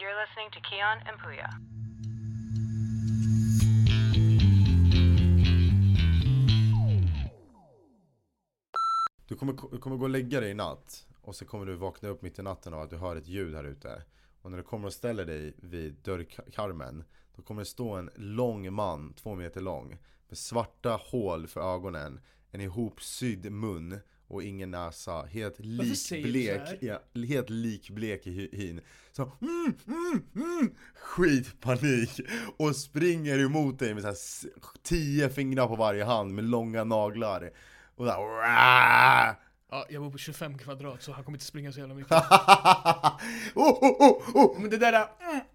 listening to Keon and Puya. Du kommer, du kommer gå och lägga dig i natt och så kommer du vakna upp mitt i natten av att du hör ett ljud här ute. Och när du kommer och ställer dig vid dörrkarmen då kommer det stå en lång man, två meter lång, med svarta hål för ögonen, en ihopsydd mun och ingen näsa, helt säger du likblek, så ja, helt likblek i hy- hyn. Så mm, mm, mm, skitpanik och springer emot dig med så här s- tio fingrar på varje hand med långa naglar. Och där, "Wah!" Ja, jag bor på 25 kvadrat så han kommer inte springa så jävla mycket. oh, oh, oh, oh. Men det där,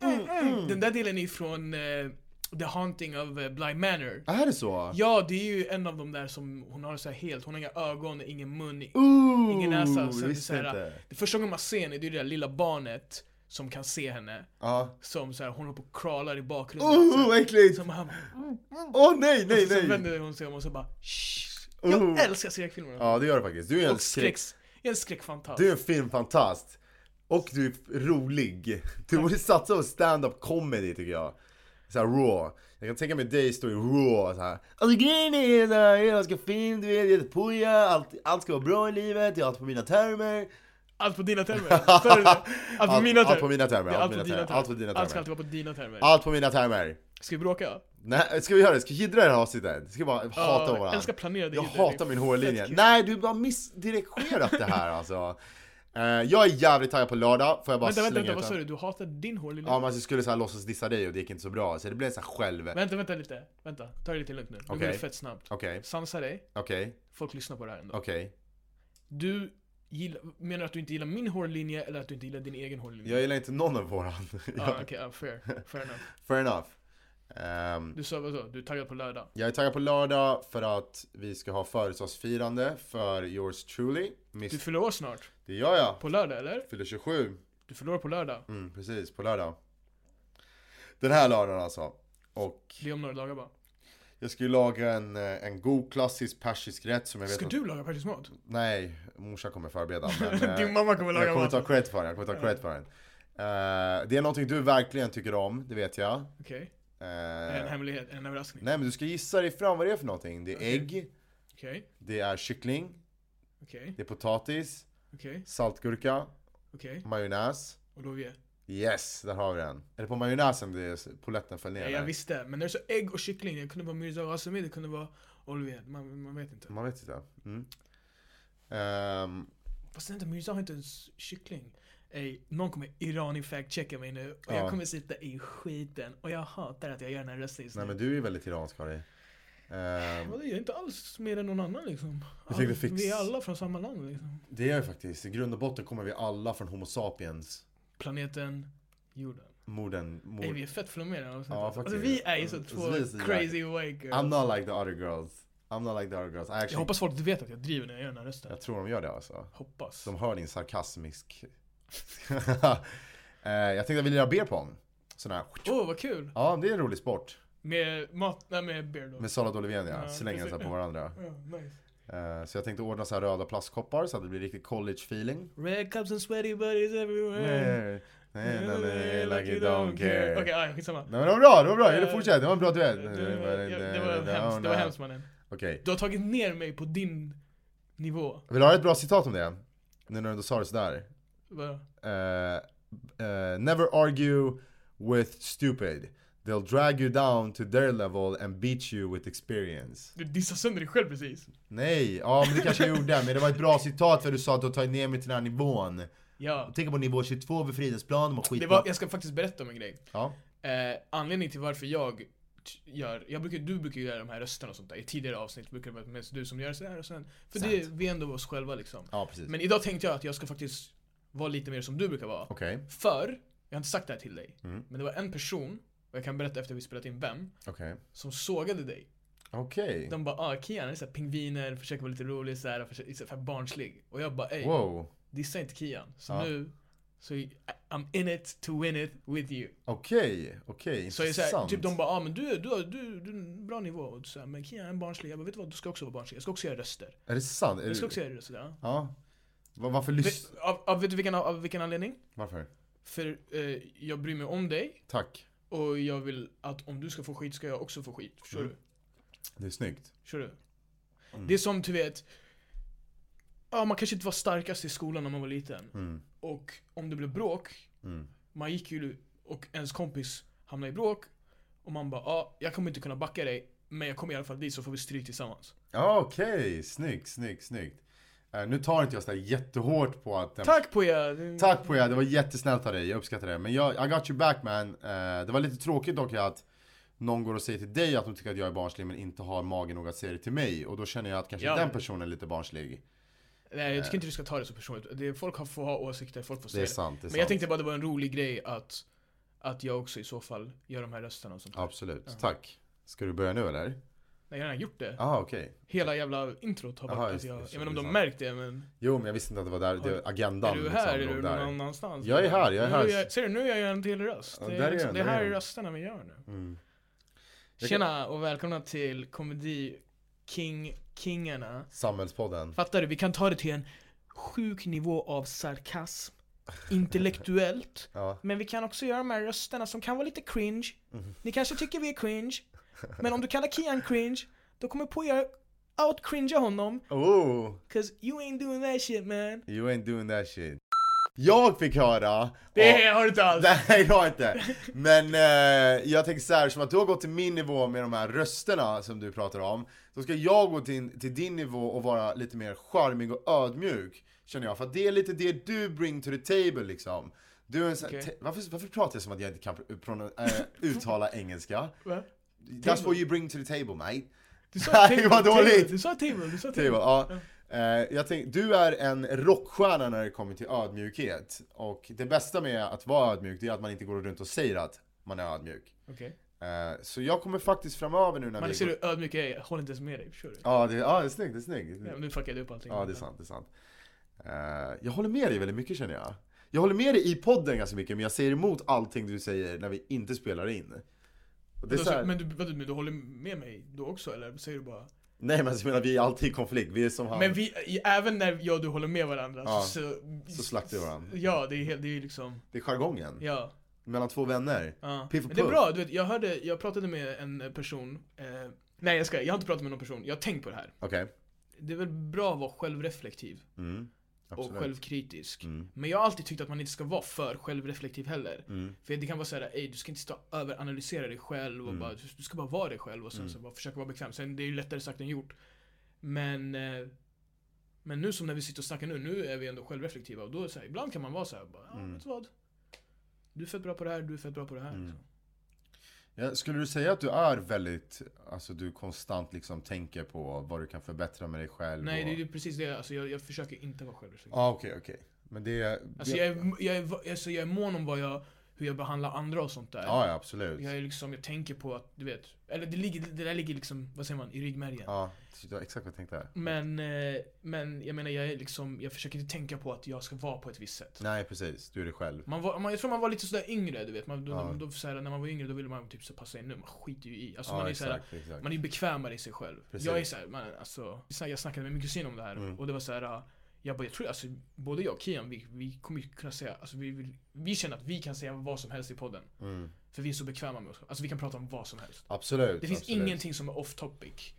mm, mm, mm. den där delen är ju från eh, The Haunting of eh, Bly Manor. Är det så? Ja, det är ju en av de där som hon har så här helt, hon har inga ögon, ingen mun, Ooh, ingen näsa. Så det det är visste så jag här, inte. det första gången man ser henne, det är det där lilla barnet som kan se henne. Ja. Som så här, hon håller på och kralar i bakgrunden. så Oh, här. vad äckligt! Så man, Åh oh, nej, nej, och så nej! vänder hon sig om och så bara "Shh." Jag Oh. älskar skräckfilmerna. Ja, det gör det faktiskt. Du är en och skräck, skräck... jag är en skräckfantast. Du är en filmfantast. Och du är rolig. Du borde satsa på stand-up comedy tycker jag. Så här raw. Jag kan tänka mig dig stå i raw så här. Alltså grejen är såhär, jag älskar film, du vet, jag heter Puja, allt, allt ska vara bra i livet, jag har allt på mina termer. Allt på dina termer. Sa du det? Allt på Allt- mina termer. allt på mina termer, Det är allt Allt på på mina termer, dina allt på dina termer. Allt termer. ska alltid vara på dina termer. Allt på mina termer. Ska vi bråka? Nej, ska vi göra det? Ska vi jiddra det här avsnittet? Ska vi bara hata Ja, varandra? älskar planerade Jag jiddrar, det är hatar min fett hårlinje. kul. Nej, du har bara missdirigerat det här alltså. Eh, jag är jävligt taggad på lördag, får jag bara Vänta, slänga vänta, vänta, ut vad sa den? du? Du hatar din hårlinje? Ja, men alltså, jag skulle så här låtsas dissa dig och det gick inte så bra, så det blev så här själv... Okej, Vänta, vänta lite. Vänta, ta det lite lugnt nu. Nu går Okej. det fett snabbt. okej, Sansa dig. okej. Folk lyssnar på det här ändå. Du gillar, menar att du inte gillar min hårlinje eller att du inte gillar din egen hårlinje? Jag gillar inte någon av våran. Ja, okej, ja, fair. Fair enough. Fair enough. Ehm, Du sa vadå? Du är taggad på lördag? jag är taggad på lördag för att vi ska ha födelsedagsfirande för yours truly. Du Miss... fyller år snart. Det gör jag. På lördag, eller? Fyller 27. Du fyller år på lördag. Mm, precis, på lördag. Den här lördagen alltså. Och Det är om några dagar bara. jag ska ju laga en, eh, en god klassisk persisk rätt som jag vet Ska att... du laga persisk mat? Nej, morsan kommer förbereda. Men, eh, Din mamma kommer laga jag kommer ta mat. cred för den. Jag kommer ta cred för den. Eh, det är någonting du verkligen tycker om, det vet jag. Eh, Okej. En hemlighet, en överraskning. nej men du ska gissa dig fram vad det är för någonting. Det är Okej. ägg, Okej, det är kyckling, okej, det är potatis, okej, saltgurka, okej. majonnäs. Olivia. Yes, där har vi den. Är det på majonnäsen det är- polletten föll ner? Ja, jag eller? visste, men när du sa ägg och kyckling, det kunde vara Mirza Rasimi, det kunde vara Olivier, man, man vet inte. Man vet inte. Mm. Ehm, Fast vänta, Mirza har inte ens kyckling. Ey, någon kommer Irani fact-checka mig nu och Ja. jag kommer sitta i skiten och jag hatar att jag gör den här rösten just nu. nej men du är ju väldigt iransk Harry. Ehm, Vadå, jag är inte alls mer än någon annan liksom. Jag tycker All- fix- Vi är alla från samma land liksom. det är jag faktiskt. I grund och botten kommer vi alla från Homo sapiens. Planeten jorden. Morden. Ey, vi Mord. är fett flummiga alltså. Ja, alltså, faktiskt. vi är ju så Mm, två så vi är så crazy waker. I'm not like the other girls. I'm not like the other girls. I actually, Jag jag, hoppas folk vet att jag driver när jag gör den här rösten. tror de gör det alltså. Hoppas. De hör din sarkasmisk... Eh, jag tänkte att vi lirar beer pong. Sån här. Åh, vad kul! Ja, det är en rolig sport. Med mat, nej med beer då. Med sallad och Olivenia. Ja, slänger den så här på precis. varandra. Ja, nice. Eh, så jag tänkte ordna så här röda plastkoppar så att det blir riktigt college feeling. Red cups and sweaty buddies everywhere. Nej, nej, nej, nej, like you don't care. Okej, okay, skitsamma. Nej men det var bra, det var bra. Eller fortsätt, det var en bra duell. Det, det, det var hemskt, det var hemskt mannen. Okej. Du har tagit ner mig på din nivå. Vill du ha ett bra citat om det? Nu när du ändå sa det sådär. Vadå? Eh, eh, never argue with stupid. They'll drag you down to their level and beat you with experience. Du dissar sönder dig själv precis. Nej, ja men det kanske jag gjorde. Men det var ett bra citat för du sa att du har tagit ner mig till den här nivån. Ja. Tänk på nivå 22 vid Fridhemsplan, de har skit. Det var, jag ska faktiskt berätta om en grej. Ja, Eh, anledningen till varför jag t- gör, jag brukar, du brukar ju göra de här rösterna och sånt där. I tidigare avsnitt brukar det vara mest du som gör så här och sen. För det, Sant. vi är ändå oss själva liksom. ja precis. Men idag tänkte jag att jag ska faktiskt vara lite mer som du brukar vara. Okej, För, jag har inte sagt det här till dig, Mm. men det var en person, och jag kan berätta efter vi spelat in vem, okej. som sågade dig. Okej. De bara ah Kian är såhär pingviner, försöker vara lite rolig såhär, försöker, så här barnslig. Och jag bara ey, Wow. dissa inte Kian. Så Ja. nu, så I- I'm in it to win it with you. Okej, okej, Så jag är såhär, intressant. typ de bara ah men du, du, har- du, du är en bra nivå. Och så här, men Kian är barnslig. Jag bara vet du vad, du ska också vara barnslig. Jag ska också göra röster. Är det sant? Är Jag ska du- också göra röster. Ja. Ja. Va- Varför lyssnar... Vet, av, av, vet du vilken, av, av vilken anledning? Varför? För eh, jag bryr mig om dig Tack. och jag vill att om du ska få skit ska jag också få skit. Förstår Mm. du? Det är snyggt. Förstår du? Mm. Det är som du vet, ja man kanske inte var starkast i skolan när man var liten. Mm. Och om det blev bråk, Mm. man gick ju och ens kompis hamnade i bråk. Och man bara, ja jag kommer inte kunna backa dig, men jag kommer i alla fall dit så får vi stryk tillsammans. Ja, Okej, snyggt, snyggt, snyggt. Eh, nu tar inte jag sådär jättehårt på att... Tack på er! Tack på er, det var jättesnällt av dig, jag uppskattar det. Men jag, I got you back man. Eh, det var lite tråkigt dock att någon går och säger till dig att de tycker att jag är barnslig men inte har magen nog att säga det till mig. Och då känner jag att kanske Ja. den personen är lite barnslig. Nej jag tycker inte du ska ta det så personligt. Det är, folk har- får ha åsikter, folk Det får är säga det. sant, det är Men jag sant. tänkte bara det var en rolig grej att, att jag också i så fall gör de här rösterna och sånt. Absolut, Ja. tack. Ska du börja nu eller? Nej jag har redan gjort det. Jaha okej. Hela jävla introt har varit Aha, att just- jag, just- jag menar om just de sant. märkt det men Jo men jag visste inte att det var där, det var agendan Är du här? liksom, är du låg någon där. annanstans? Jag är här, jag är Nu här. ser du, nu gör jag en till röst. Ja, det, där är är liksom, den, det där är här är den. rösterna vi gör nu. Mm. Jag kan- Tjena och välkomna till komedi King Kingarna. Samhällspodden. Fattar du? Vi kan ta det till en sjuk nivå av sarkasm. Intellektuellt. Ja. Men vi kan också göra de här rösterna som kan vara lite cringe. Mm. Ni kanske tycker vi är cringe. Men om du kallar Kian cringe, då kommer på jag out-cringea honom. Oh! 'Cause you ain't doing that shit man. You ain't doing that shit. Jag fick höra... av- Det har du inte alls. Nej, jag har inte. Men eh, jag tänker så här, som att du har gått till min nivå med de här rösterna som du pratar om, så ska jag gå till, till din nivå och vara lite mer charmig och ödmjuk, känner jag. För att det är lite det du bring to the table liksom. Du är en sån här, Okej. te- varför, varför pratar jag som att jag inte kan pr- prono- eh, uttala engelska? Va? That's what you bring to the table mate. Du sa Nej, table, vad table, dåligt. Du sa table, du sa Det table. var, Typ, ja. Eh, jag tänk, du är en rockstjärna när det kommer till ödmjukhet. Och det bästa med att vara ödmjuk, det är att man inte går runt och säger att man är ödmjuk. Okej. Eh, så jag kommer faktiskt framöver nu när Man vi... ser går- hur ödmjuk jag är, jag håller inte ens med dig, förstår du? Ja, det, ja, det är snyggt, det är snyggt. Nej, men Nu fuckade jag upp allting. Mm. Ja, det är sant, det är sant. Eh, jag håller med dig väldigt mycket känner jag. Jag håller med dig i podden ganska mycket, men jag säger emot allting du säger när vi inte spelar in. Och det är Vadå, så här, så- Men, du, vadå, men du håller med mig då också eller? Säger du bara? Nej men alltså, jag menar, vi är alltid i konflikt, vi är som han. Men vi, i- även när jag och du håller med varandra Ja, så, så slaktar vi varandra. Ja, det är, helt- det är liksom, Det är jargongen, ja. mellan två vänner. ja. Piff och Men det är puff. bra, du vet, jag hörde, jag pratade med en person, eh, nej jag ska, jag har inte pratat med någon person, jag har tänkt på det här. Okej. Det är väl bra att vara självreflektiv Mm. och Absolut. självkritisk. Mm. Men jag har alltid tyckt att man inte ska vara för självreflektiv heller. Mm. För det kan vara såhär, ej du ska inte stå och överanalysera dig själv och Mm. bara, du ska bara vara dig själv och sen Mm. så bara försöka vara bekväm. Sen det är ju lättare sagt än gjort. Men, eh, men nu som när vi sitter och snackar nu, nu är vi ändå självreflektiva och då är det så här, ibland kan man vara såhär, bara, ah, Mm. vet du vad? Du är fett bra på det här, du är fett bra på det här. Mm. liksom. Ja, skulle du säga att du är väldigt, alltså du konstant liksom tänker på vad du kan förbättra med dig själv? Alltså. Nej, och... det är ju precis det, alltså, jag, jag försöker inte vara självreflektiv. Ja, ah, okej, okej. Men det... Alltså, det... jag, är, jag, är, alltså, jag är mån om vad jag, hur jag behandlar andra och sånt där. Ja, ja, absolut. Jag är liksom, jag tänker på att, du vet, eller det, ligger, det där ligger liksom, vad säger man, i ryggmärgen. Ja, det var exakt vad jag tänkte. här. Men, eh, men jag menar, jag är liksom, jag försöker inte tänka på att jag ska vara på ett visst sätt. Nej, precis. Du är dig själv. Man var, man, jag tror man var lite sådär yngre, du vet. Man, då, Ja. då, såhär, när man var yngre då ville man typ så passa in nu, man skiter ju i. Alltså, ja, man, är såhär, exakt, exakt. man är bekvämare i sig själv. Precis. Jag är såhär, man, alltså, så här, jag snackade med min kusin om det här Mm. och det var såhär, ah, jag bara, jag tror alltså, både jag och Kian, vi, vi kommer ju kunna säga, alltså, vi, vill, vi känner att vi kan säga vad som helst i podden. Mm. För vi är så bekväma med oss Alltså vi kan prata om vad som helst. Absolut. Det finns absolut. ingenting som är off topic.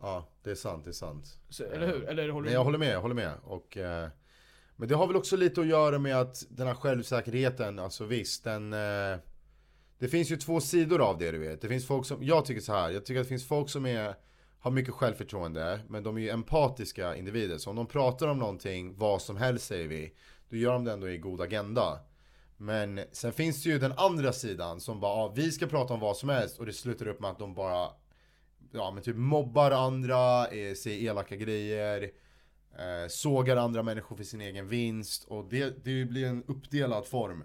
Ja, det är sant, det är sant. Så, eller hur? Eller håller Nej, du jag med? håller med, jag håller med. Och, eh, men det har väl också lite att göra med att den här självsäkerheten, alltså visst, den... Eh, det finns ju två sidor av det du vet. Det finns folk som, jag tycker så här, jag tycker att det finns folk som är, har mycket självförtroende, men de är ju empatiska individer. Så om de pratar om någonting, vad som helst säger vi, då gör de det ändå i god agenda. Men sen finns det ju den andra sidan som bara, ah, vi ska prata om vad som helst och det slutar upp med att de bara ja men typ mobbar andra, eh, säger elaka grejer, eh, sågar andra människor för sin egen vinst och det, det blir en uppdelad form.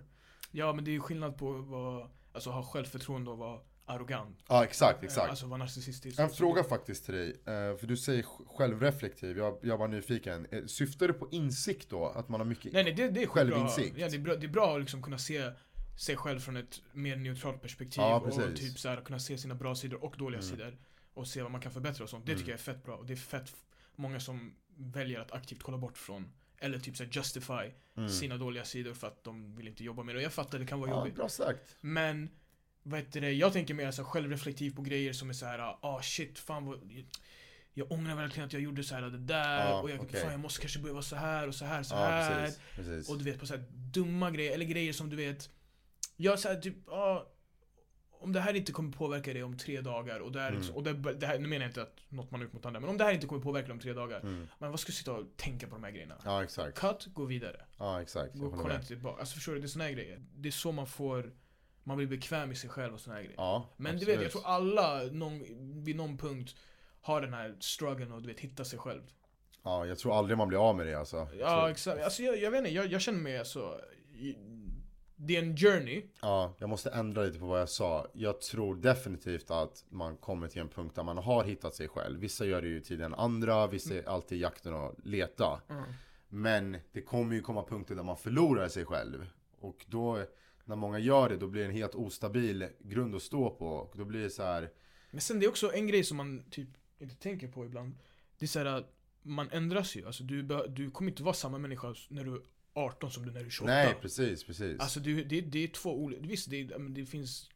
Ja men det är ju skillnad på att vara, alltså, ha självförtroende och vara arrogant. Ja exakt, exakt. Alltså vara narcissistisk. en fråga faktiskt till dig, eh, för du säger sj- självreflektiv, jag, jag var nyfiken. Eh, Syftar du på insikt då? Att man har mycket... Nej nej det, det är Självinsikt. skitbra. Ja, det, är bra, det är bra att liksom kunna se sig själv från ett mer neutralt perspektiv. Ja, och precis. typ så här, kunna se sina bra sidor och dåliga Mm. sidor. Och se vad man kan förbättra och sånt. Det Mm. tycker jag är fett bra. Och det är fett f- många som väljer att aktivt kolla bort från Eller typ såhär justify sina dåliga sidor för att de vill inte jobba med det. Och jag fattar, det kan vara Mm. Ja, jobbigt. bra sagt. Men vad heter det, jag tänker mer så här självreflektiv på grejer som är så här, ah shit, fan vad jag ångrar verkligen att jag gjorde så här ah, det där Ja, och jag, Ah, okej. fan, jag måste kanske börja vara så här och så här så Ja, här. precis. precis. Och du vet på så här dumma grejer, eller grejer som du vet Jag såhär typ, ah, Om det här inte kommer påverka dig om tre dagar och det här, liksom, Mm. och det, det här nu menar jag inte att något man har gjort mot andra Men om det här inte kommer påverka dig om tre dagar Mm. Men vad ska du sitta och tänka på de här grejerna? Ja, exakt. Cut, gå vidare Ja, exakt. Jag Gå och håller kolla med. inte tillbaka, alltså förstår du? Det är såna här grejer Det är så man får Man blir bekväm i sig själv och såna här grejer Ja, Men du vet, jag absolut. tror alla någon, vid någon punkt har den här struggeln och du vet, hitta sig själv Ja, jag tror aldrig man blir av med det alltså. Jag Ja, tror- exakt. Alltså, jag, jag vet inte, jag, jag känner mig så... Det är en journey. Ja, jag måste ändra lite på vad jag sa. Jag tror definitivt att man kommer till en punkt där man har hittat sig själv. Vissa gör det ju tidigare än andra, vissa är alltid i jakten att leta. Men det kommer ju komma punkter där man förlorar sig själv. Och då, när många gör det, då blir det en helt ostabil grund att stå på. Och då blir det så här, Men sen det är också en grej som man typ inte tänker på ibland. Det är så här att man ändras ju. Alltså, du, bör- du kommer inte vara samma människa när du är 18 som du när du är 28. nej precis, precis. Alltså du, det, det är två olika... Visst, det, är- men det finns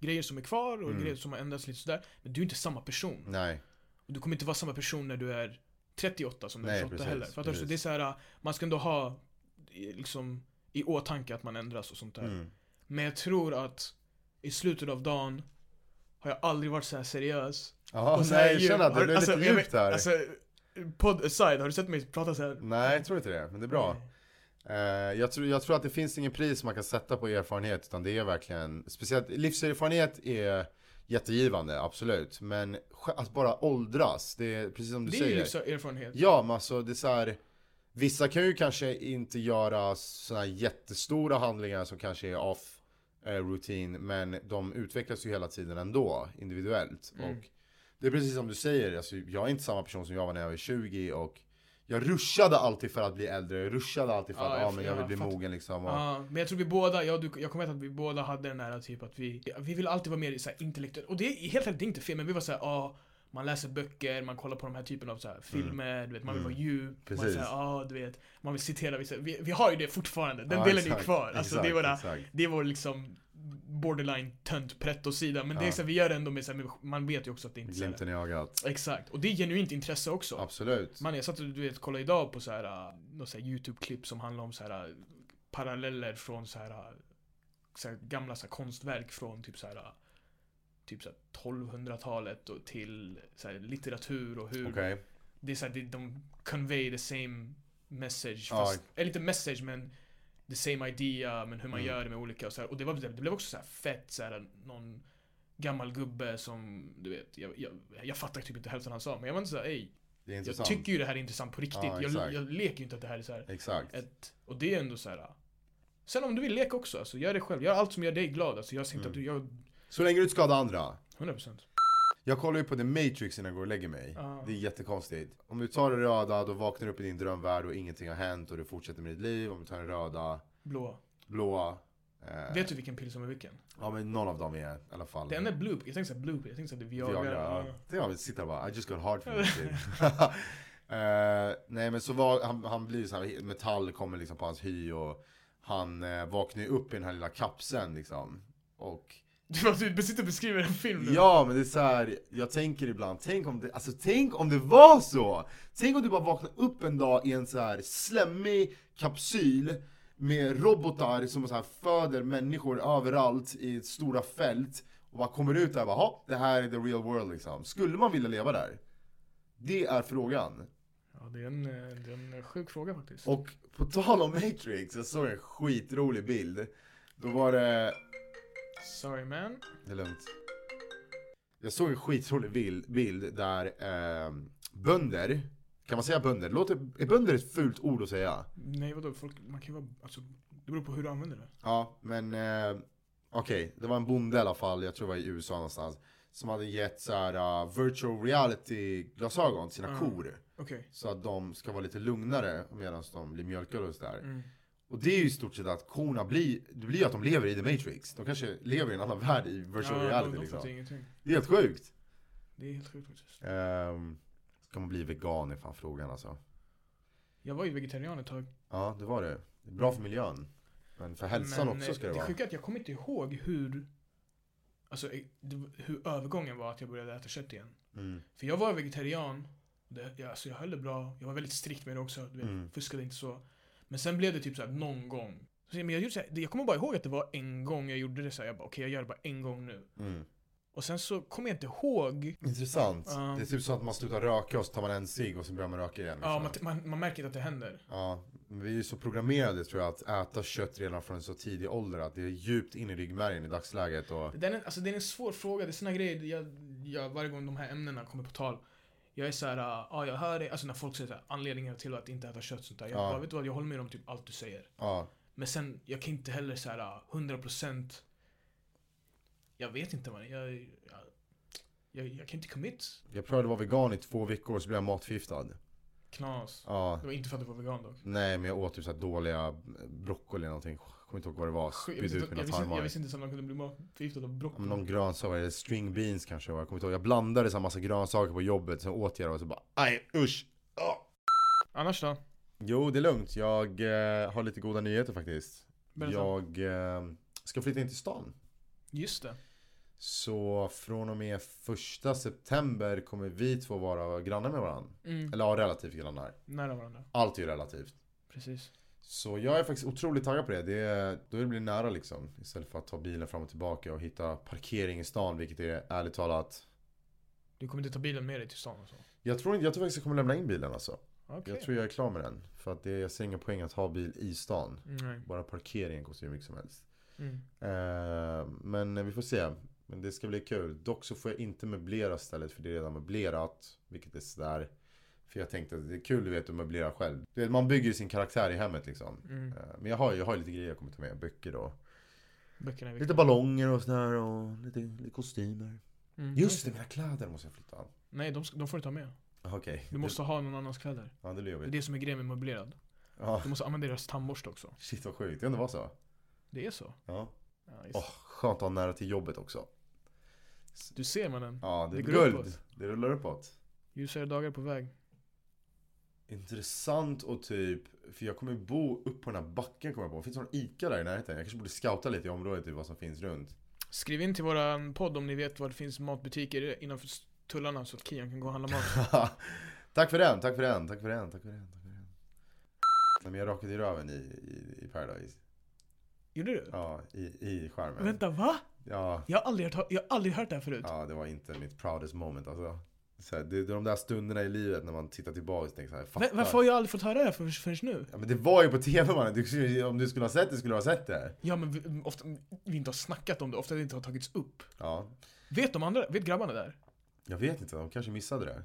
grejer som är kvar och Mm. grejer som har ändrats lite sådär. Men du är inte samma person. nej, Och du kommer inte vara samma person när du är 38 som när du är Nej, 28 precis, heller. För att alltså, precis. det är så här, man ska ändå ha eh, liksom, i åtanke att man ändras och sånt där. Mm. Men jag tror att i slutet av dagen har jag aldrig varit så här seriös. Jaha, Och så här nej, djup. jag känner att Har- det blev alltså, lite jag djupt vet- här. Alltså, podd aside, har du sett mig prata så här? Nej, jag tror inte det, men det är bra. Eh, jag, tror, jag tror att det finns ingen pris man kan sätta på erfarenhet, utan det är verkligen, speciellt livserfarenhet är jättegivande, absolut. Men sj- att bara åldras, det är precis som du Det är säger. ju liksom erfarenhet. Ja, men alltså det är så här, vissa kan ju kanske inte göra sådana jättestora handlingar som kanske är off eh, routine, men de utvecklas ju hela tiden ändå, individuellt. Mm. Och det är precis som du säger, alltså, jag är inte samma person som jag var när jag var 20 och jag ruschade alltid för att bli äldre, jag ruschade alltid för Ja, att jag- ah, men jag vill jag bli fattar. mogen liksom. Och, Ja, men jag tror vi båda, jag, och du, jag kommer ihåg att vi båda hade den här typ att vi, vi vill alltid vara mer så här intellektuella. Och det är helt ärligt, det är inte fel, men vi var så här, ah, man läser böcker, man kollar på de här typen av så här, filmer, du vet, man vill vara djup, man, är Mm. Precis. så här, ah, du vet, man vill citera vissa, vi, vi har ju det fortfarande, den Ja, delen är ju exakt, kvar. Alltså, det, är exakt, våra, exakt. det är vår liksom borderline tönt pretto-sida, men det är Ja. så här, vi gör det ändå med så här, man vet ju också att det inte är så Glimten i ögat. här, Exakt, och det är genuint intresse också. Absolut. Man, jag satt och du vet, kollade idag på så här, äh, något så här YouTube-klipp som handlar om så här, äh, paralleller från så här, äh, så här gamla så här, konstverk från typ så här, äh, typ så här 1200-talet och till så här, litteratur och hur Okej. det är så här, det, de convey the same message. Ja. Fast, eller inte message men the same idea men hur man Mm. gör det med olika och så här. Och det, var, det blev också så här fett så här äh, någon gammal gubbe som du vet, jag, jag, jag fattar typ inte hälften han sa men jag var inte så här, ey Det är jag intressant. tycker ju det här är intressant på riktigt. Ja, jag, exakt. jag leker ju inte att det här är så här. Exakt. Ett, och det är ändå så här. ah. Sen om du vill leka också, alltså, gör det själv. Gör allt som gör dig glad. Alltså, jag ser Mm. inte att du gör Så länge du inte skadar andra. 100%. Jag kollar ju på The Matrix innan jag går och lägger mig. Ja. Det är jättekonstigt. Om du tar det röda, då vaknar du upp i din drömvärld och ingenting har hänt och du fortsätter med ditt liv. Om du tar den röda, Blåa. blåa. Eh, Vet du vilken pill som är vilken? ja men någon av dem är i alla fall. Det enda är blue. Jag tänkte säga blue pill. Jag tänkte säga det är Viagra. Mm. Viagra. Ja. Det är jag vill sitta och bara, I just got hard for this shit. Eh, nej men så var, han, han blir så här, metall kommer liksom på hans hy och han eh, vaknar ju upp i den här lilla kapseln liksom. Och Du, bara- du sitter och beskriver en film nu. Ja, men det är så här, jag tänker ibland, tänk om det, alltså tänk om det var så! Tänk om du bara vaknade upp en dag i en så här slemmig kapsyl med robotar som så här föder människor överallt i stora fält och bara kommer ut där och bara, "Ja, det här är the real world liksom. Skulle man vilja leva där? Det är frågan. Ja, det, är en, eh, det är en sjuk fråga faktiskt. Och på tal om Matrix, jag såg en skitrolig bild. Då var det Sorry man. Det är lugnt. Jag såg en skitrolig bild, bild där eh, bönder, kan man säga bönder? Låter, är bönder ett fult ord att säga? Nej vadå, folk, man kan ju vara, alltså, det beror på hur du använder det. Ja, men eh, okej, det var en bonde i alla fall, jag tror det var i USA någonstans, som hade gett så här eh, virtual reality-glasögon till sina Mm. kor. Okej. Så att de ska vara lite lugnare medan de blir mjölkade och sådär. Mm. Och det är ju i stort sett att korna blir, det blir ju att de lever i The Matrix. De kanske lever i en annan värld i virtual Ja, reality de, de fattar liksom. ingenting. Det är helt sjukt. Det är helt sjukt faktiskt. Ehm, Um, ska man bli vegan är fan frågan alltså. Jag var ju vegetarian ett tag. Ja, det var det. Det är Bra för miljön. Men för hälsan Men, också ska eh, det Det vara. sjuka är att jag kommer inte ihåg hur, alltså, eh, det- hur övergången var att jag började äta kött igen. Mm. För jag var vegetarian. och Det, jag, alltså jag höll det bra. Jag var väldigt strikt med det också. Du vet, Mm. Fuskade inte så. Men sen blev det typ såhär någon gång. Så, men jag, gjorde så här, det- jag kommer bara ihåg att det var en gång jag gjorde det såhär. Jag bara okej jag gör det bara en gång nu. Mm. Och sen så kommer jag inte ihåg. Intressant. Ja. Det är typ så att man slutar röka och så tar man en cigg och så börjar man röka igen. Ja, liksom. man, man, man märker inte att det händer. Ja, men vi är ju så programmerade tror jag att äta kött redan från en så tidig ålder att det är djupt in i ryggmärgen i dagsläget och... Det där är, en- alltså, det är en svår fråga. Det är såna grejer jag, jag, varje gång de här ämnena kommer på tal. Jag är såhär, ah ja, jag hör dig. Alltså när folk säger såhär, anledningar till att inte äta kött sånt där. Jag Ja. bara, vet du vad, jag håller med om typ allt du säger. Ja, Men sen, jag kan inte heller så här 100% Jag vet inte man, jag, jag, jag, jag kan inte commit jag prövade vara vegan i två veckor och så blev jag matförgiftad. knas. Ja, Det var inte för att du var vegan dock. nej men jag åt typ så här dåliga broccoli eller någonting. Kommer inte ihåg vad det var. Jag visste, Spydde ut inte- mina jag, visste, jag tarmar. visste inte ens att man kunde bli matförgiftad av Ja, men Någon broccoli. grönsak, eller string beans kanske det var. jag kommer inte ihåg. Jag blandade så här massa grönsaker på jobbet, sen åt jag det och så bara aj usch. Ah. Annars då? Jo det är lugnt, jag eh, har lite goda nyheter faktiskt. Berätta. Jag eh, ska flytta in till stan. Just det. Så från och med första september kommer vi två vara grannar med varandra. Mm. Eller ja, relativt grannar. Nära varandra. Allt är ju relativt. Precis. Så jag är faktiskt otroligt taggad på det. det är, då det blir nära liksom. Istället för att ta bilen fram och tillbaka och hitta parkering i stan. Vilket är ärligt talat. Du kommer inte ta bilen med dig till stan och så? Jag tror, inte, jag tror faktiskt jag kommer lämna in bilen alltså. Okej. Jag tror jag är klar med den. För att det, jag ser ingen poäng att ha bil i stan. Nej. Bara parkeringen kostar ju hur mycket som helst. Mm. Eh, men vi får se. Men det ska bli kul. Dock så får jag inte möblera stället för det är redan möblerat. Vilket är sådär. För jag tänkte att det är kul du vet att möblera själv. Du vet, man bygger ju sin karaktär i hemmet liksom. Mm. Eh, Men jag har, jag har lite grejer jag kommer ta med. Böcker då. Böckerna är Lite viktiga. ballonger och sådär och lite, lite kostymer. Mm. Just det, mina kläder måste jag flytta. Ah, Nej, de, ska- de får du ta med. Okej. Du måste ha någon annans kläder. Ja, det blir Det är jobbigt. det som är grejen med möblerad. Ja, Du måste använda deras tandborste också. shit vad sjukt. Det ändå var så. Det är så. Ja. Ja, just. Åh, skönt att ha nära till jobbet också. Du ser mannen. Ja, det är Det går guld. uppåt. Det rullar uppåt. Ljusare dagar på väg. Intressant och typ, för jag kommer bo upp på den här backen kommer jag på. Finns det någon ICA där i närheten? Jag kanske borde scouta lite i området, typ vad som finns runt. Skriv in till våran podd om ni vet var det finns matbutiker innanför tullarna så att Kian kan gå och handla mat. tack för den, tack för den, tack för den, tack för den, tack för den. Nej, men jag rakade i röven i, i, i Paradise. Gjorde du? Ja, i, i skärmen. Vänta, va? Ja, Jag har aldrig hört, jag har aldrig hört det här förut. ja, det var inte mitt proudest moment alltså. Så här, det är de där stunderna i livet när man tittar tillbaka och tänker så här, Va- fattar. Varför har jag aldrig fått höra det här förrän, förrän nu? Ja, men det var ju på tv mannen, du, skulle- om du skulle ha sett det skulle du ha sett det. Ja men vi, ofta, vi inte har snackat om det, ofta det inte har tagits upp. Ja, Vet de andra, vet grabbarna där? jag vet inte, de kanske missade det. Eh,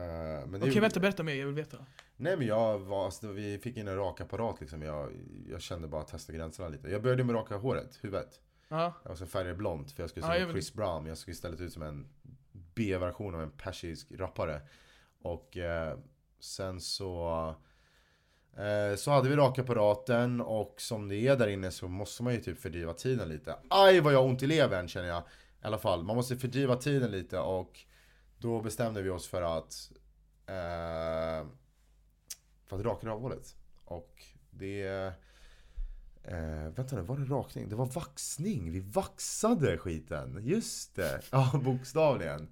men det Okej gjorde- vänta, berätta mer, jag vill veta. Nej men jag var, alltså, vi fick in en rakapparat liksom. Jag, jag kände bara att testa gränserna lite. Jag började med att raka håret, huvudet. Ja, Och sen färgade jag blont för jag skulle se Ah, ut jag som vet. Chris Brown. men Jag skulle istället ut som en B-version av en persisk rappare. Och eh, sen så... Eh, så hade vi rakapparaten och som det är där inne så måste man ju typ fördriva tiden lite. Aj vad jag har ont i levern känner jag. I alla fall, man måste fördriva tiden lite och då bestämde vi oss för att... Eh, för att raka rövhålet. Och det... Eh, vänta nu, var det rakning? Det var vaxning. Vi vaxade skiten. Just det. Ja, bokstavligen.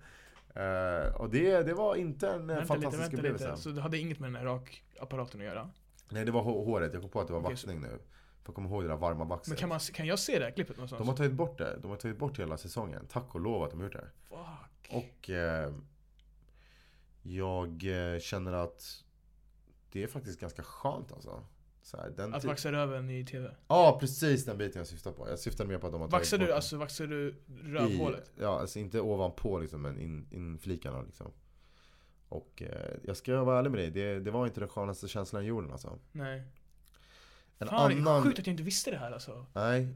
Eh, och det, det var inte en eh, vänta lite, fantastisk vänta upplevelse. lite. Så det hade inget med den här rakapparaten att göra? Nej, det var hå- håret. Jag kom på att det var Okej, vaxning nu. För jag kommer ihåg det där varma Men vaxet. kan, man, kan jag se det här klippet någonstans? De har tagit bort det. De har tagit bort hela säsongen. Tack och lov att de har gjort det. Fuck. Och eh, jag eh, känner att det är faktiskt ganska skönt alltså. Så här, den Att ti- vaxa röven i TV. Ja, precis den biten jag syftar på. Jag syftar mer på att de har tagit Vaxar bort du, den. alltså, vaxar du I- rövhålet? Ja, alltså inte ovanpå liksom, men in- inflikarna liksom. Och eh, jag ska vara ärlig med dig, det, det var inte den skönaste känslan i jorden alltså. Nej. En Fan, det är annan... sjukt att jag inte visste det här alltså. Nej.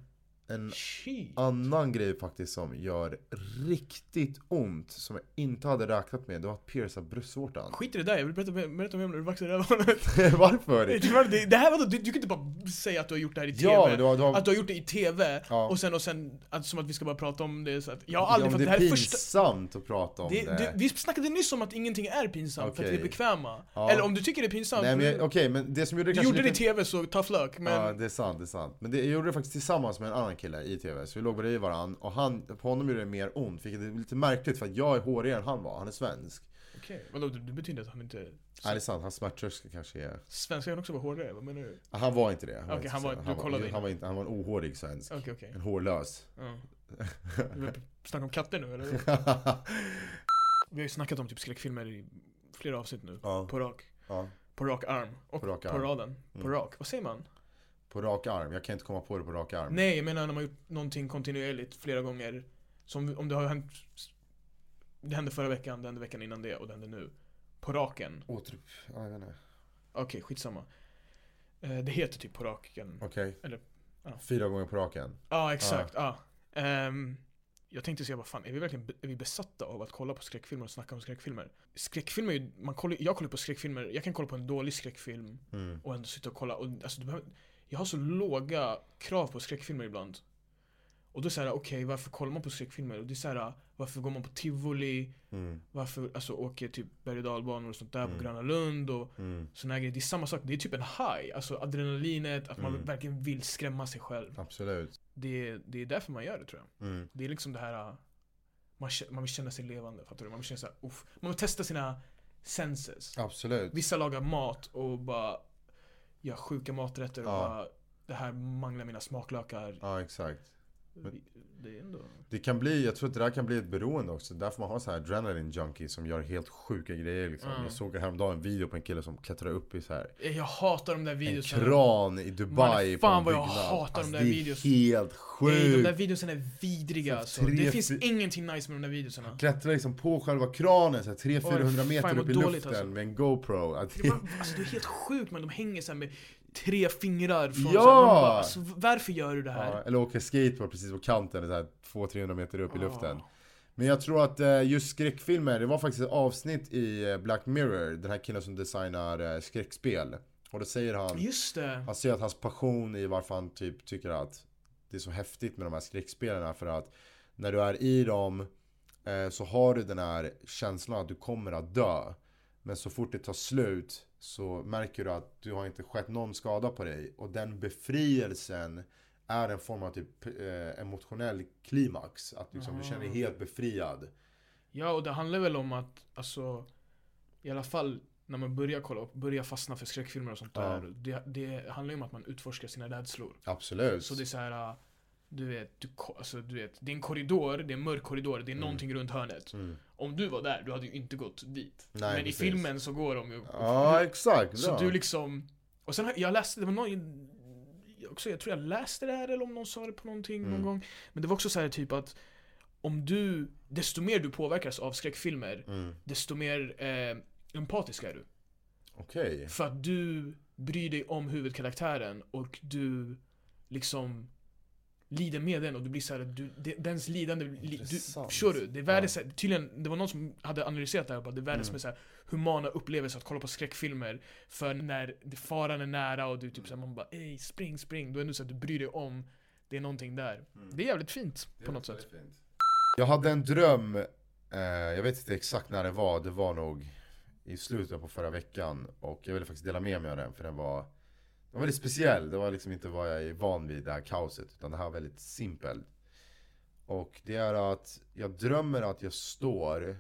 en Shit. annan grej faktiskt som gör riktigt ont som jag inte hade räknat med. Det var att pierca bröstvårtan. Skit i det där, jag vill berätta, berätta mer om när du vaxade rövhålet. Varför? Det var- det- det här var då, du, du kan inte bara säga att du har gjort det här i TV. Ja, men det var, det var, Att du har gjort det i TV, ja. och sen och sen, att, som att vi ska bara prata om det så att, Jag har ja, aldrig men fått det det här är är första... pinsamt att prata om det. Det, det, vi snackade nyss om att ingenting är pinsamt för att vi är Okej. bekväma. Ja. Eller om du tycker det är pinsamt, Nej, men jag- Okej, men det som gjorde det du kanske gjorde det i lite... TV så tough luck. Men Ja, det är sant, det är sant. Men det, jag gjorde det faktiskt tillsammans med en annan kille i TV, så vi låg bredvid varandra och han, på honom gjorde det mer ont, vilket är lite märkligt för att jag är hårigare än han var, han är svensk. okej, vadå det, det betyder att han inte... Nej det är sant, hans smärttröskel kanske är... Svenskar kan också vara hårdare, vad menar du? Ah, Han var inte det. Okej, inte han var- så- du kollade in. han var, inte, han var en ohårig svensk. Okej okej. En hårlös. Ja. Du vill snacka om katter nu eller? Vi har ju snackat om typ skräckfilmer i flera avsnitt nu. ja, På rak. ja, På rak arm. Och På på, rak arm. raden. På Mm. rak. Vad säger man? på rak arm. Jag kan inte komma på det på rak arm. Nej, jag menar när man gjort någonting kontinuerligt flera gånger. Som om det har hänt... Det hände förra veckan, det hände veckan innan det och det hände nu. På raken. Återupp... Ja, jag vet inte. Okej, skitsamma. Eh, Det heter typ på raken. Ja, Okej. Eller, ja. Fyra gånger på raken. exakt. Ja. Ehm, jag tänkte säga, vad fan, är vi verkligen är vi besatta av att kolla på skräckfilmer och snacka om skräckfilmer? Skräckfilmer är ju, man kollar, jag kollar på skräckfilmer, jag kan kolla på en dålig skräckfilm Mm. och ändå sitta och kolla. Och, alltså, du behöver, jag har så låga krav på skräckfilmer ibland. Och då är det såhär, okej varför kollar man på skräckfilmer? Och det är såhär, varför går man på tivoli? Mm. Varför alltså, åker typ berg och dalbanor och sånt där Mm. på Gröna Lund? Och Mm. såna här grejer. Det är samma sak, det är typ en high. Alltså adrenalinet, att man Mm. verkligen vill skrämma sig själv. Absolut. Det är, det är därför man gör det tror jag. Mm. Det är liksom det här, uh, man, kä- man vill känna sig levande, fattar du? Man vill känna sig uff. Man vill testa sina senses. Absolut. Vissa lagar mat och bara gör sjuka maträtter och Ja. bara det här manglar mina smaklökar. Ja, exakt. Men- Det är ändå... Det kan bli, jag tror att det där kan bli ett beroende också. Därför man har så här adrenaline junkie som gör helt sjuka grejer liksom. Mm. Jag såg häromdagen en video på en kille som klättrar upp i så här Eh, Jag hatar de där en videorna. kran i Dubai eh, Man, på fan en vad jag byggnad. Alltså, hatar de där det är videos. helt Nej, de sjukt. där videorna är vidriga Så alltså. tre, Det finns fy- ingenting nice med de där videorna. Klättrar liksom på själva kranen så här Oj, 300-400 fan, meter vad upp i dåligt, luften alltså. med en GoPro. Att Det det- var, alltså det är helt sjukt men de hänger så här med tre fingrar Ja! från så här, man bara, alltså, varför gör du det här? Ja, eller åker skateboard precis på kanten, så här 200-300 meter upp i Ah. luften. Men jag tror att eh, just skräckfilmer, det var faktiskt ett avsnitt i eh, Black Mirror, den här killen som designar eh, skräckspel. Och då säger han, Just det. Han ser att hans passion i varför han typ tycker att det är så häftigt med de här skräckspelen är för att när du är i dem eh, så har du den här känslan att du kommer att dö. Men så fort det tar slut så märker du att du har inte skett någon skada på dig och den befrielsen är en form av typ eh, emotionell klimax. Att liksom, du känner dig Ah. helt befriad. Ja och det handlar väl om att, alltså I alla fall när man börjar kolla och börjar fastna för skräckfilmer och sånt Ja. där det, det handlar ju om att man utforskar sina rädslor. Absolut. Så det är så här. äh, Du vet, du, ko- alltså, du vet, det är en korridor, det är en mörk korridor, det är Mm. någonting runt hörnet. Mm. Om du var där, du hade ju inte gått dit. Nej, Men precis. i filmen så går de ju och- Ja, exakt. Så bra. du liksom, och sen har jag läste, det var någon, jag också, jag tror jag läste det här eller om någon sa det på någonting Mm. någon gång Men det var också så här typ att om du, desto mer du påverkas av skräckfilmer, Mm. desto mer eh, empatisk är du Okej. För att du bryr dig om huvudkaraktären och du liksom lider med den och du blir såhär, du, det- dens lidande, li, du, Intressant. förstår du? Det är världens, Ja. tydligen, det var någon som hade analyserat det här och bara, det är världens Mm. mest så här, humana upplevelse att kolla på skräckfilmer För när det- faran är nära och du typ såhär, man bara ej, spring, spring, då är det så att du bryr dig om det är någonting där. Mm. Det är jävligt fint på något sätt. Jag hade en dröm, eh, jag vet inte exakt när det var, det var nog i slutet på förra veckan och jag ville faktiskt dela med mig av den för den var den var väldigt speciell, det var liksom inte vad jag är van vid det här kaoset utan det här var väldigt simpelt. Och det är att jag drömmer att jag står,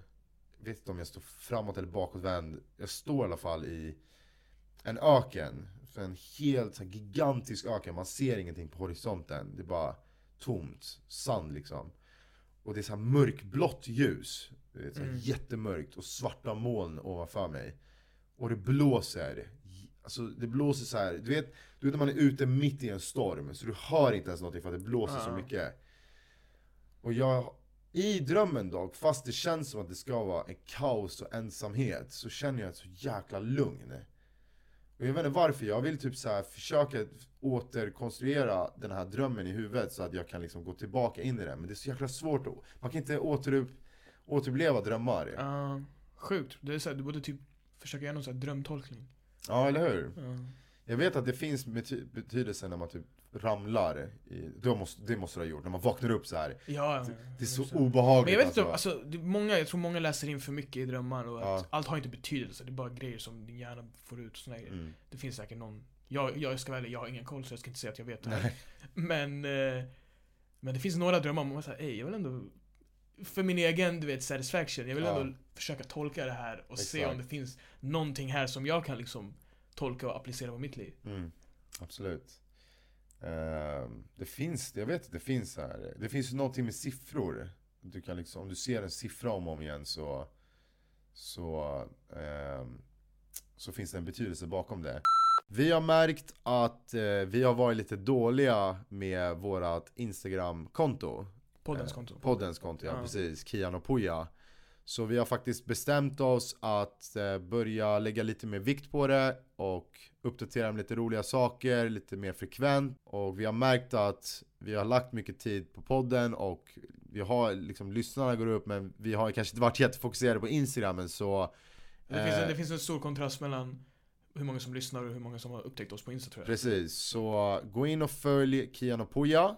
vet inte om jag står framåt eller bakåtvänd, jag står i alla fall i en öken, så en helt så här gigantisk öken, man ser ingenting på horisonten, det är bara tomt, sand liksom. Och det är så här mörkblått ljus. Du vet, så här Mm. Jättemörkt och svarta moln ovanför mig. Och det blåser. Alltså det blåser så här. Du vet, du vet när man är ute mitt i en storm så du hör inte ens någonting för att det blåser så Ja. mycket. Och jag, i drömmen dock, fast det känns som att det ska vara en kaos och ensamhet så känner jag ett så jäkla lugn. Och jag vet inte varför, jag vill typ så här försöka återkonstruera den här drömmen i huvudet så att jag kan liksom gå tillbaka in i den. Men det är så jäkla svårt att, man kan inte återupp, återuppleva drömmar. Ja. Ja, sjukt. Det är så här, du borde typ försöka göra någon så här drömtolkning. eller hur? Ja. Jag vet att det finns bety- betydelse när man typ ramlar. I, det, måste, det måste du ha gjort, när man vaknar upp så här. Ja, Det är just så det. obehagligt Men jag vet inte, alltså, det är många, jag tror många läser in för mycket i drömmar och att Ja. allt har inte betydelse, det är bara grejer som din hjärna får ut och såna grejer. Mm. Det finns säkert någon, jag, jag ska vara ärlig, jag har ingen koll så jag ska inte säga att jag vet det här. Nej. Men, eh, men det finns några drömmar, man säger ej jag vill ändå för min egen, du vet, satisfaction, jag vill Ja. ändå försöka tolka det här och se Exakt. om det finns någonting här som jag kan liksom tolka och applicera på mitt liv. Mm, absolut. Ehm, det finns, jag vet att det finns så här. Det finns ju någonting med siffror. Du kan liksom, om du ser en siffra om och om igen så, så, ehm, så finns det en betydelse bakom det. Vi har märkt att eh, vi har varit lite dåliga med vårat Instagram-konto. Poddens Eh, konto. Poddens konto, ja, Ja. precis. Kian och Puja. Så vi har faktiskt bestämt oss att eh, börja lägga lite mer vikt på det och uppdatera med lite roliga saker, lite mer frekvent. Och vi har märkt att vi har lagt mycket tid på podden och vi har liksom, lyssnarna går upp men vi har kanske inte varit jättefokuserade på Instagramen så Det, finns en, eh, det finns en stor kontrast mellan hur många som lyssnar och hur många som har upptäckt oss på Insta tror jag. Precis, så gå in och följ Kian och Puja.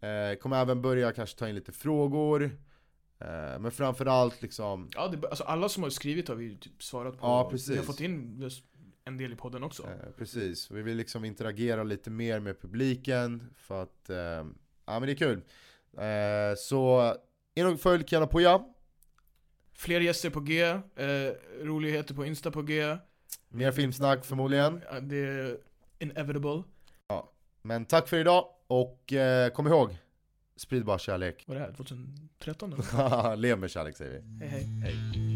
Eh, kommer även börja kanske ta in lite frågor. Eh, men framförallt liksom Ja, det, alltså alla som har skrivit har vi ju typ svarat på. Ja, precis. Vi har fått in just en del i podden också. Eh, precis, vi vill liksom interagera lite mer med publiken för att, eh, ja men det är kul. Eh, så in och följ Kiana Puja, Fler gäster på G, eh, roligheter på Insta på G. Eh, mer filmsnack förmodligen. Det är inevitable. Men tack för idag och eh, kom ihåg, sprid bara kärlek. Vad är det här? 2013 eller? Lev med kärlek säger vi. Hej hej. Hej.